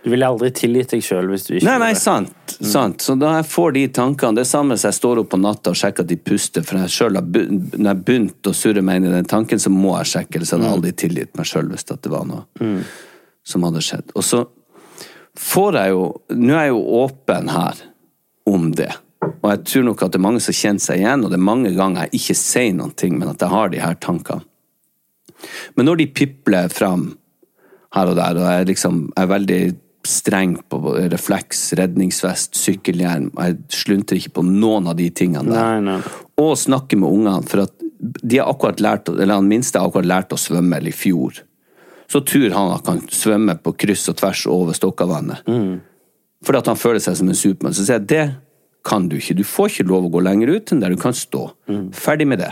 S2: Du ville aldri tilgitt deg sjøl hvis du ikke
S1: Nei,
S2: gjorde
S1: nei,
S2: det. Mm.
S1: sant. sant. Så da jeg får de tankene Det er samme som jeg står opp på natta og sjekker at de puster, for jeg selv har be- når jeg begynte å surre meg inn i den tanken, så må jeg sjekke, ellers hadde
S2: Mm.
S1: jeg aldri tilgitt meg sjøl hvis at det var noe som hadde skjedd. Og så får jeg jo Nå er jeg jo åpen her om det. Og jeg tror nok at det er mange som kjenner seg igjen, og det er mange ganger jeg ikke sier noen ting, men at jeg har de her tankene. Men når de pipler fram her og der, og jeg liksom jeg er veldig streng på både refleks, redningsvest, sykkelhjelm, jeg slunter ikke på noen av de tingene der.
S2: Nei, nei.
S1: Og snakker med ungene, for at de har akkurat lært, eller han minste har akkurat lært å svømme eller i fjor. Så tror han at han kan svømme på kryss og tvers over Stokkavannet. Fordi at han føler seg som en supermann. Så sier jeg det kan du ikke. Du får ikke lov å gå lenger ut enn der du kan stå. Ferdig med det.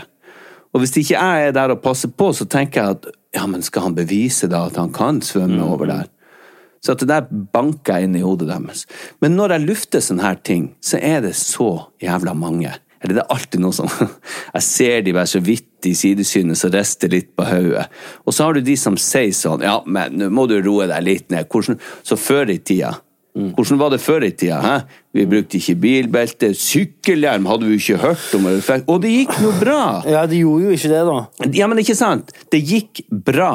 S1: Og hvis ikke jeg er der og passer på, så tenker jeg at ja, men skal han bevise da at han kan svømme over der? Så at det der banker jeg inn i hodet deres. Men når jeg lufter sånne her ting, så er det så jævla mange. Eller det er alltid noe sånn Jeg ser de bare så vidt i sidesynet, så rister litt på hodet. Og så har du de som sier sånn Ja, men nå må du roe deg litt ned. Hvordan, så før i tida Hvordan var det før i tida? Hæ? Vi brukte ikke bilbelte. Sykkelhjelm hadde vi jo ikke hørt om. eller fikk- Og det gikk nå bra!
S2: Ja, de gjorde jo ikke det, da.
S1: Ja, men ikke sant? Det gikk bra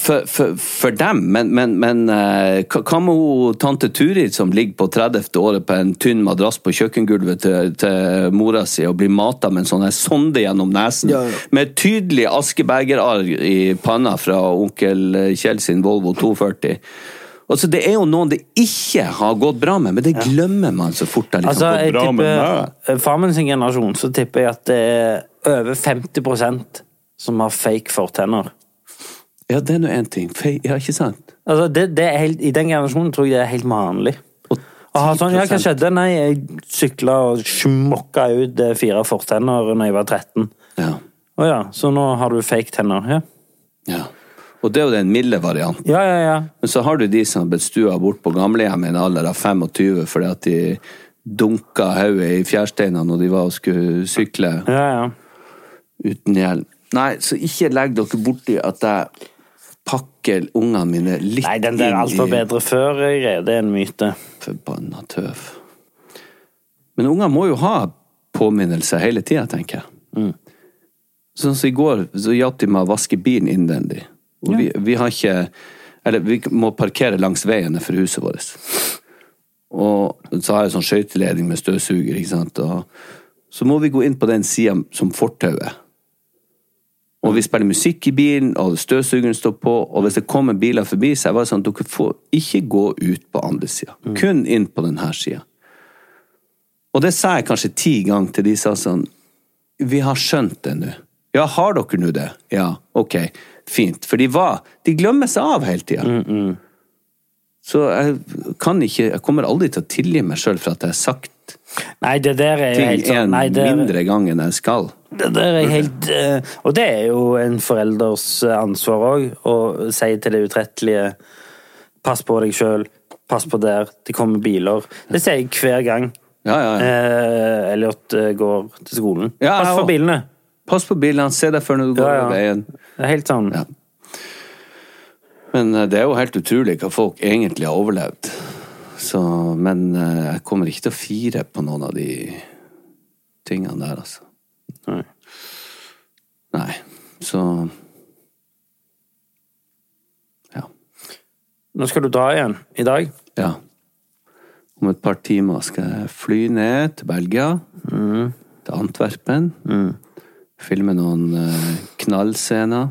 S1: for, for, for dem, men, men, men eh, hva hva med hun tante Turid som ligger på 30. året på en tynn madrass på kjøkkengulvet til, til mora si og blir mata med en sånn her sonde gjennom nesen, med tydelig askebegerarr i panna fra onkel Kjell sin Volvo 240? Altså, det er jo noen det ikke har gått bra med, men det glemmer man så fort. Det liksom
S2: Altså,
S1: gått
S2: jeg
S1: bra med meg.
S2: tipper Far min sin generasjon, så tipper jeg at det er over 50 som har fake fortenner.
S1: Ja, det er nå én ting. Fe- Ja, ikke sant?
S2: Altså, det, det er helt, I den generasjonen tror jeg det er helt vanlig.
S1: Og
S2: Å ha sånn, ja, hva
S1: 10%.
S2: skjedde? Nei, jeg sykla og smokka ut eh, fire fortenner da jeg var 13.
S1: Ja.
S2: Å ja, så nå har du fake tenner. Ja,
S1: Ja. Og det er jo den milde varianten.
S2: ja, ja. ja.
S1: Men så har du de som har blitt stua bort på gamlehjem i en alder av 25 fordi at de dunka hodet i fjærsteinene når de var og skulle sykle
S2: ja, ja.
S1: uten hjelm. Nei, så ikke legg dere borti at jeg pakker ungene mine litt
S2: Nei, den der alt var
S1: inn i
S2: bedre før-greia, det er en myte.
S1: Forbanna tøv. Men unger må jo ha påminnelser hele tida, tenker jeg. Sånn som i går, så hjalp de meg å vaske bilen innvendig. Og vi, vi har ikke Eller vi må parkere langs veien for huset vårt. Og så har jeg sånn skøyteledning med støvsuger, ikke sant. Og så må vi gå inn på den sida som fortauet. Og vi spiller musikk i bilen, og støvsugeren står på, og hvis det kommer biler forbi, så er jeg bare sånn, dere får ikke gå ut på andre sida.
S2: Mm.
S1: Kun inn på denne sida. Og det sa jeg kanskje ti ganger til de sa sånn, vi har skjønt det nå. Ja, har dere nå det? Ja, ok, fint. For de var, de glemmer seg av hele tida.
S2: Mm,
S1: Så jeg kan ikke, jeg kommer aldri til å tilgi meg sjøl for at jeg har sagt
S2: Nei, det der er jo
S1: ting
S2: helt sånn
S1: en
S2: Nei, det,
S1: mindre gang enn jeg skal.
S2: Det der er helt eh, Og det er jo en forelders eh, ansvar òg, å si til det utrettelige Pass på deg sjøl, pass på der, det kommer biler. Det sier jeg hver gang
S1: Ja, ja, ja.
S2: eh, Elliot eh, går til skolen.
S1: Ja, jeg
S2: pass
S1: også.
S2: for bilene!
S1: Pass på bilene, se deg før når du går
S2: Ja,
S1: over
S2: ja.
S1: veien.
S2: Det er helt sånn.
S1: Ja. Men eh, det er jo helt utrolig hva folk egentlig har overlevd. Så, men eh, jeg kommer ikke til å fire på noen av de tingene der, altså.
S2: Nei.
S1: Nei. Så Ja.
S2: Nå skal du dra igjen i dag.
S1: ja. Om et par timer skal jeg fly ned til Belgia.
S2: Mm.
S1: Til Antwerpen. Filme noen eh, knallscener.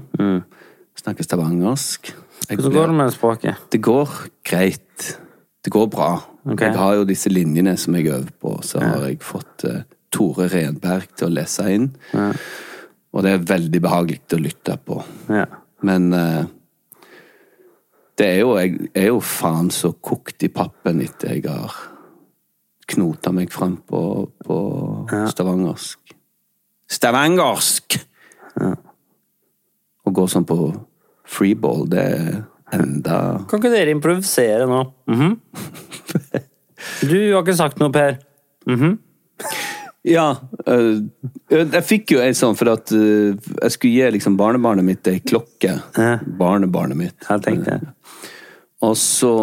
S1: Snakke stavangersk. Jeg
S2: Mm. Hvordan
S1: blir-
S2: går det med språket?
S1: det går greit. Det går bra.
S2: Ok.
S1: Jeg har jo disse linjene som jeg øver på. Så har jeg fått eh, Tore Renberg til å lese inn. Og det er veldig behagelig å lytte på.
S2: Ja.
S1: Men eh, det er jo, jeg er jo faen så kokt i pappen etter jeg har knota meg fram på, på stavangersk. Stavangersk! Å gå sånn på freeball, det er Enda
S2: Kan ikke dere improvisere nå? Mhm. Du har ikke sagt noe, Per.
S1: Ja. eh, jeg fikk jo en sånn for at eh, jeg skulle gi liksom barnebarnet mitt ei klokke. Barnebarnet mitt.
S2: Jeg tenkte
S1: Og så,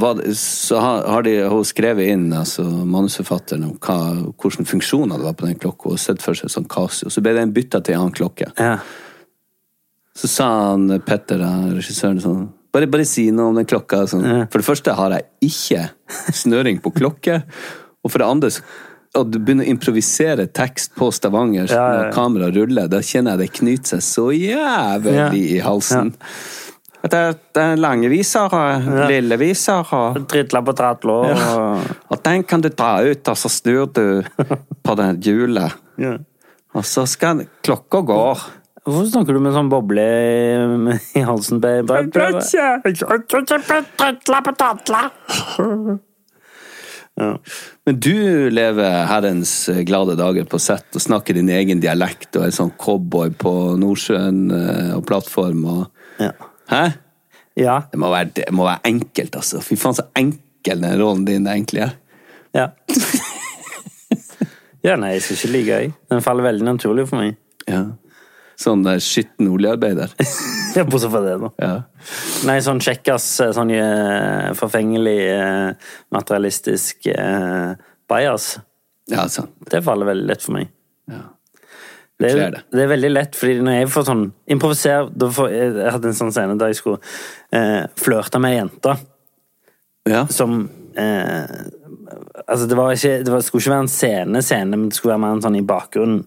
S1: var det, så har har de hun skrevet inn, altså manusforfatteren, om hva, hvilke funksjoner det var på den klokka. Og sett for seg sånn Casio. Så ble den bytta til en annen klokke.
S2: ja.
S1: Så sa han Petter, da, regissøren, sånn bare, bare si noe om den klokka. Sånn. For det første har jeg ikke snøring på klokke. Og for det andre så- Å du begynner å improvisere tekst på Stavanger
S2: ja, ja.
S1: når kameraet ruller, da kjenner jeg det knyter seg så jævlig
S2: Ja.
S1: i halsen. At det, det er lange viser og lille viser og
S2: Tritla på tratla og
S1: Og den kan du dra ut, og så snur du på det hjulet.
S2: Ja.
S1: Og så skal klokka går.
S2: Hvorfor snakker du med sånn boble i, i halsen? Per? Bare prøv.
S1: Men du lever herrens eh, glade dager på sett og snakker din egen dialekt og er sånn cowboy på Nordsjøen eh, og plattform og
S2: Ja.
S1: Hæ?
S2: Ja.
S1: Det må, være, det må være enkelt, altså. Fy faen, så enkel den rollen din egentlig er.
S2: Ja. ja, nei, jeg skal ikke like jeg. Den faller veldig naturlig for meg.
S1: Ja. Sånn eh, skitten oljearbeider.
S2: Ja, Bortsett fra det, da.
S1: Ja.
S2: Nei, sånn kjekkas, sånn eh, forfengelig, eh, materialistisk eh, bias.
S1: ja, sånn.
S2: Det faller veldig lett for meg.
S1: Ja.
S2: Det
S1: kler
S2: er,
S1: det.
S2: det er veldig lett, fordi når jeg får sånn improviser da får, jeg, jeg hadde en sånn scene der jeg skulle eh, flørte med ei jente
S1: Ja.
S2: som eh, Altså, det, var ikke, det var, skulle ikke være en scene, scene, men det skulle være mer en sånn i bakgrunnen.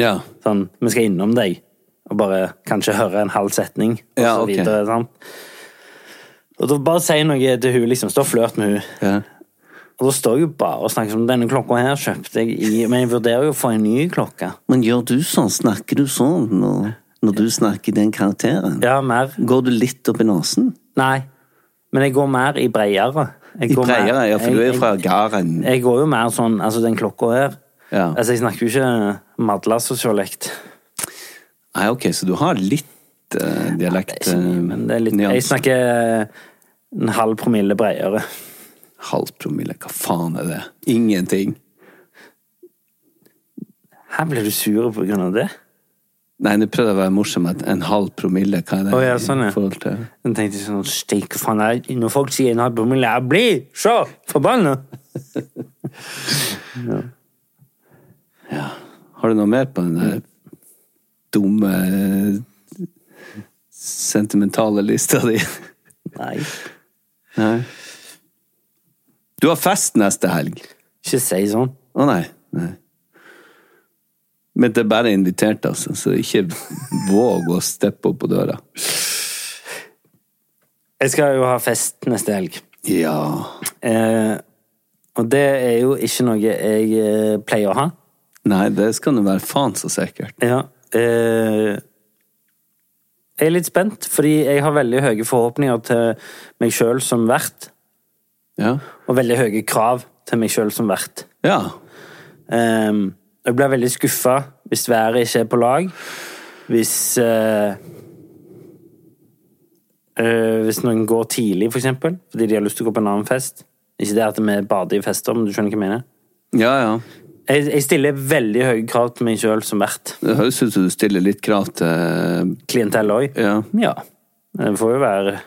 S1: ja.
S2: Sånn, vi skal innom deg, og bare kanskje høre en halv setning, og
S1: Ja,
S2: så
S1: ok.
S2: videre. Sant? Og da bare si noe til hun, liksom. Stå og flørt med hun.
S1: ja.
S2: Og da står jeg jo bare og snakker om denne klokka her kjøpte jeg i Men jeg vurderer jo å få en ny klokke.
S1: Men gjør du sånn? Snakker du sånn når, du snakker den karakteren?
S2: Ja, mer.
S1: Går du litt opp i nesen?
S2: Nei. Men jeg går mer i bredere. Jeg
S1: I
S2: går mer-
S1: breiere, ja, for du er
S2: jeg-
S1: jo fra gården.
S2: Jeg, jeg går jo mer sånn, altså den klokka her.
S1: Ja.
S2: Altså, jeg snakker jo ikke madlasosialekt.
S1: Nei, ok, så du har litt eh, dialekt eh,
S2: Men det er litt, jeg
S1: nyanser.
S2: snakker en halv promille bredere.
S1: Halv promille, hva faen er det? Ingenting.
S2: Her ble du sur på grunn av det?
S1: Nei, nå prøvde jeg å være morsom. at En halv promille, hva er det?
S2: Å, ja, sånn, ja.
S1: i forhold til?
S2: Jeg tenkte sånn, steik, faen, jeg, når folk sier en halv promille, jeg blir så forbannet.
S1: Har du noe mer på den der dumme eh, sentimentale lista di?
S2: Nei,
S1: Nei. Du har fest neste helg.
S2: ikke si sånn.
S1: Å nei. nei. Men det er bare invitert, altså. Så ikke våg å steppe opp på døra.
S2: Jeg skal jo ha fest neste helg.
S1: Ja.
S2: Eh, og det er jo ikke noe jeg eh, pleier å ha.
S1: Nei, det skal nå være faen så sikkert.
S2: Ja. Eh, jeg er litt spent, fordi jeg har veldig høye forhåpninger til meg sjøl som vert,
S1: Ja.
S2: og veldig høye krav til meg sjøl som vert.
S1: ja.
S2: Eh, jeg blir veldig skuffa hvis været ikke er på lag. Hvis eh, eh, Hvis noen går tidlig, for eksempel, fordi de har lyst til å gå på en annen fest. Ikke det at vi bader i fester, men du skjønner hva jeg mener.
S1: Ja, ja.
S2: Jeg, jeg stiller veldig høye krav til meg sjøl som vert.
S1: Det høres ut som du stiller litt krav til
S2: Klientell òg.
S1: Ja.
S2: Ja. Det får jo være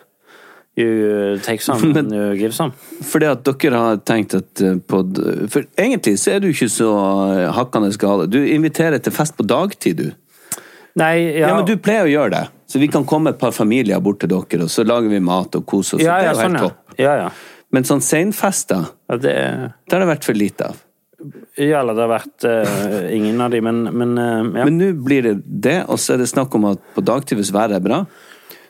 S2: You take some,
S1: Men-
S2: you give some.
S1: Fordi at dere har tenkt at eh, på d- For egentlig så er du ikke så eh, hakkende gale. Du inviterer til fest på dagtid, du.
S2: Nei, ja,
S1: Ja, men du pleier å gjøre det. Så vi kan komme et par familier bort til dere, og så lager vi mat og koser oss.
S2: ja, ja,
S1: det er jo
S2: sånn,
S1: helt
S2: ja.
S1: topp.
S2: ja, ja.
S1: Men sånn seinfester,
S2: ja det er
S1: det har det vært for lite av.
S2: Ja, eller det har vært eh, ingen av de, men, men eh, ja.
S1: Men nå blir det det, og så er det snakk om at på dagtid, hvis været er bra,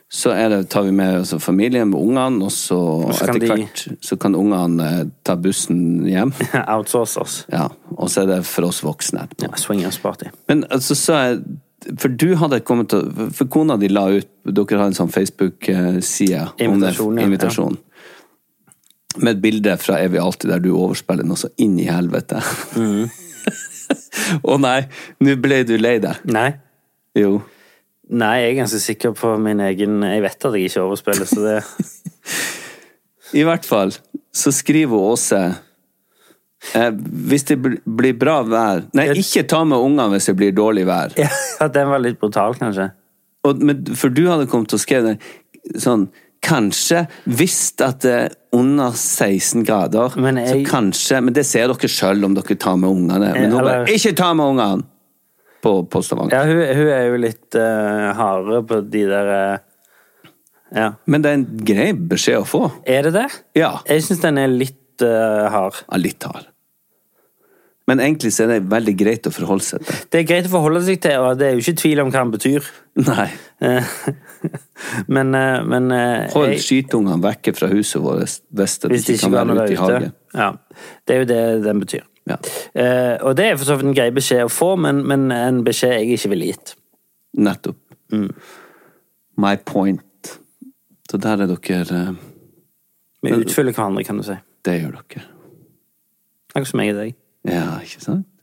S1: så er det, tar vi med altså, familien med ungene, og så,
S2: så kan
S1: etter
S2: de-
S1: hvert så kan ungene eh, ta bussen hjem.
S2: Outsource oss.
S1: Ja, og så er det for oss voksne etterpå.
S2: Ja, swingers party.
S1: Men altså, så er For du hadde kommet til For kona di la ut Dere har en sånn Facebook-side om det-
S2: Invitasjon, ja, ja.
S1: invitasjon. Med et bilde fra Evig alltid der du overspiller noe så inn i helvete. Å
S2: Mm.
S1: nei, nå ble du lei deg.
S2: Nei.
S1: Jo.
S2: Nei, jeg er ganske sikker på min egen Jeg vet at jeg ikke overspiller, så det
S1: I hvert fall så skriver Åse eh, Hvis det bl- blir bra vær Nei, ikke ta med ungene hvis det blir dårlig vær.
S2: ja, at Den var litt brutal, kanskje.
S1: Og, men, for du hadde kommet til å skrive det sånn Kanskje, hvis at det er under 16 grader,
S2: Men jeg-
S1: så kanskje Men det ser dere sjøl om dere tar med ungene. Men hun
S2: Eller-
S1: bare 'Ikke ta med ungene!' på, på Stavanger.
S2: Ja, hun, hun er jo litt uh, hardere på de der eh, Ja.
S1: Men det er en grei beskjed å få.
S2: Er det det?
S1: Ja.
S2: Jeg syns den er litt eh, hard.
S1: Ja, litt hard. Men egentlig så er det veldig greit å forholde seg til.
S2: Det er greit å forholde seg til, og det er jo ikke tvil om hva den betyr.
S1: Nei.
S2: Eh, men eh, men eh,
S1: Hold
S2: jeg-
S1: skytungene vekke fra huset vårt hvis de
S2: Hvis det
S1: ikke
S2: ikke
S1: kan
S2: går an å
S1: være
S2: være
S1: ute i hagen.
S2: ute. Ja. Det er jo det den betyr.
S1: Ja.
S2: Eh, og det er for så vidt en grei beskjed å få, men, men en beskjed jeg ikke ville gitt.
S1: Nettopp. My point. Så der er dere eh,
S2: Vi utfyller hverandre, kan du si.
S1: Det gjør dere.
S2: Akkurat som jeg og deg.
S1: Ja, ikke sant?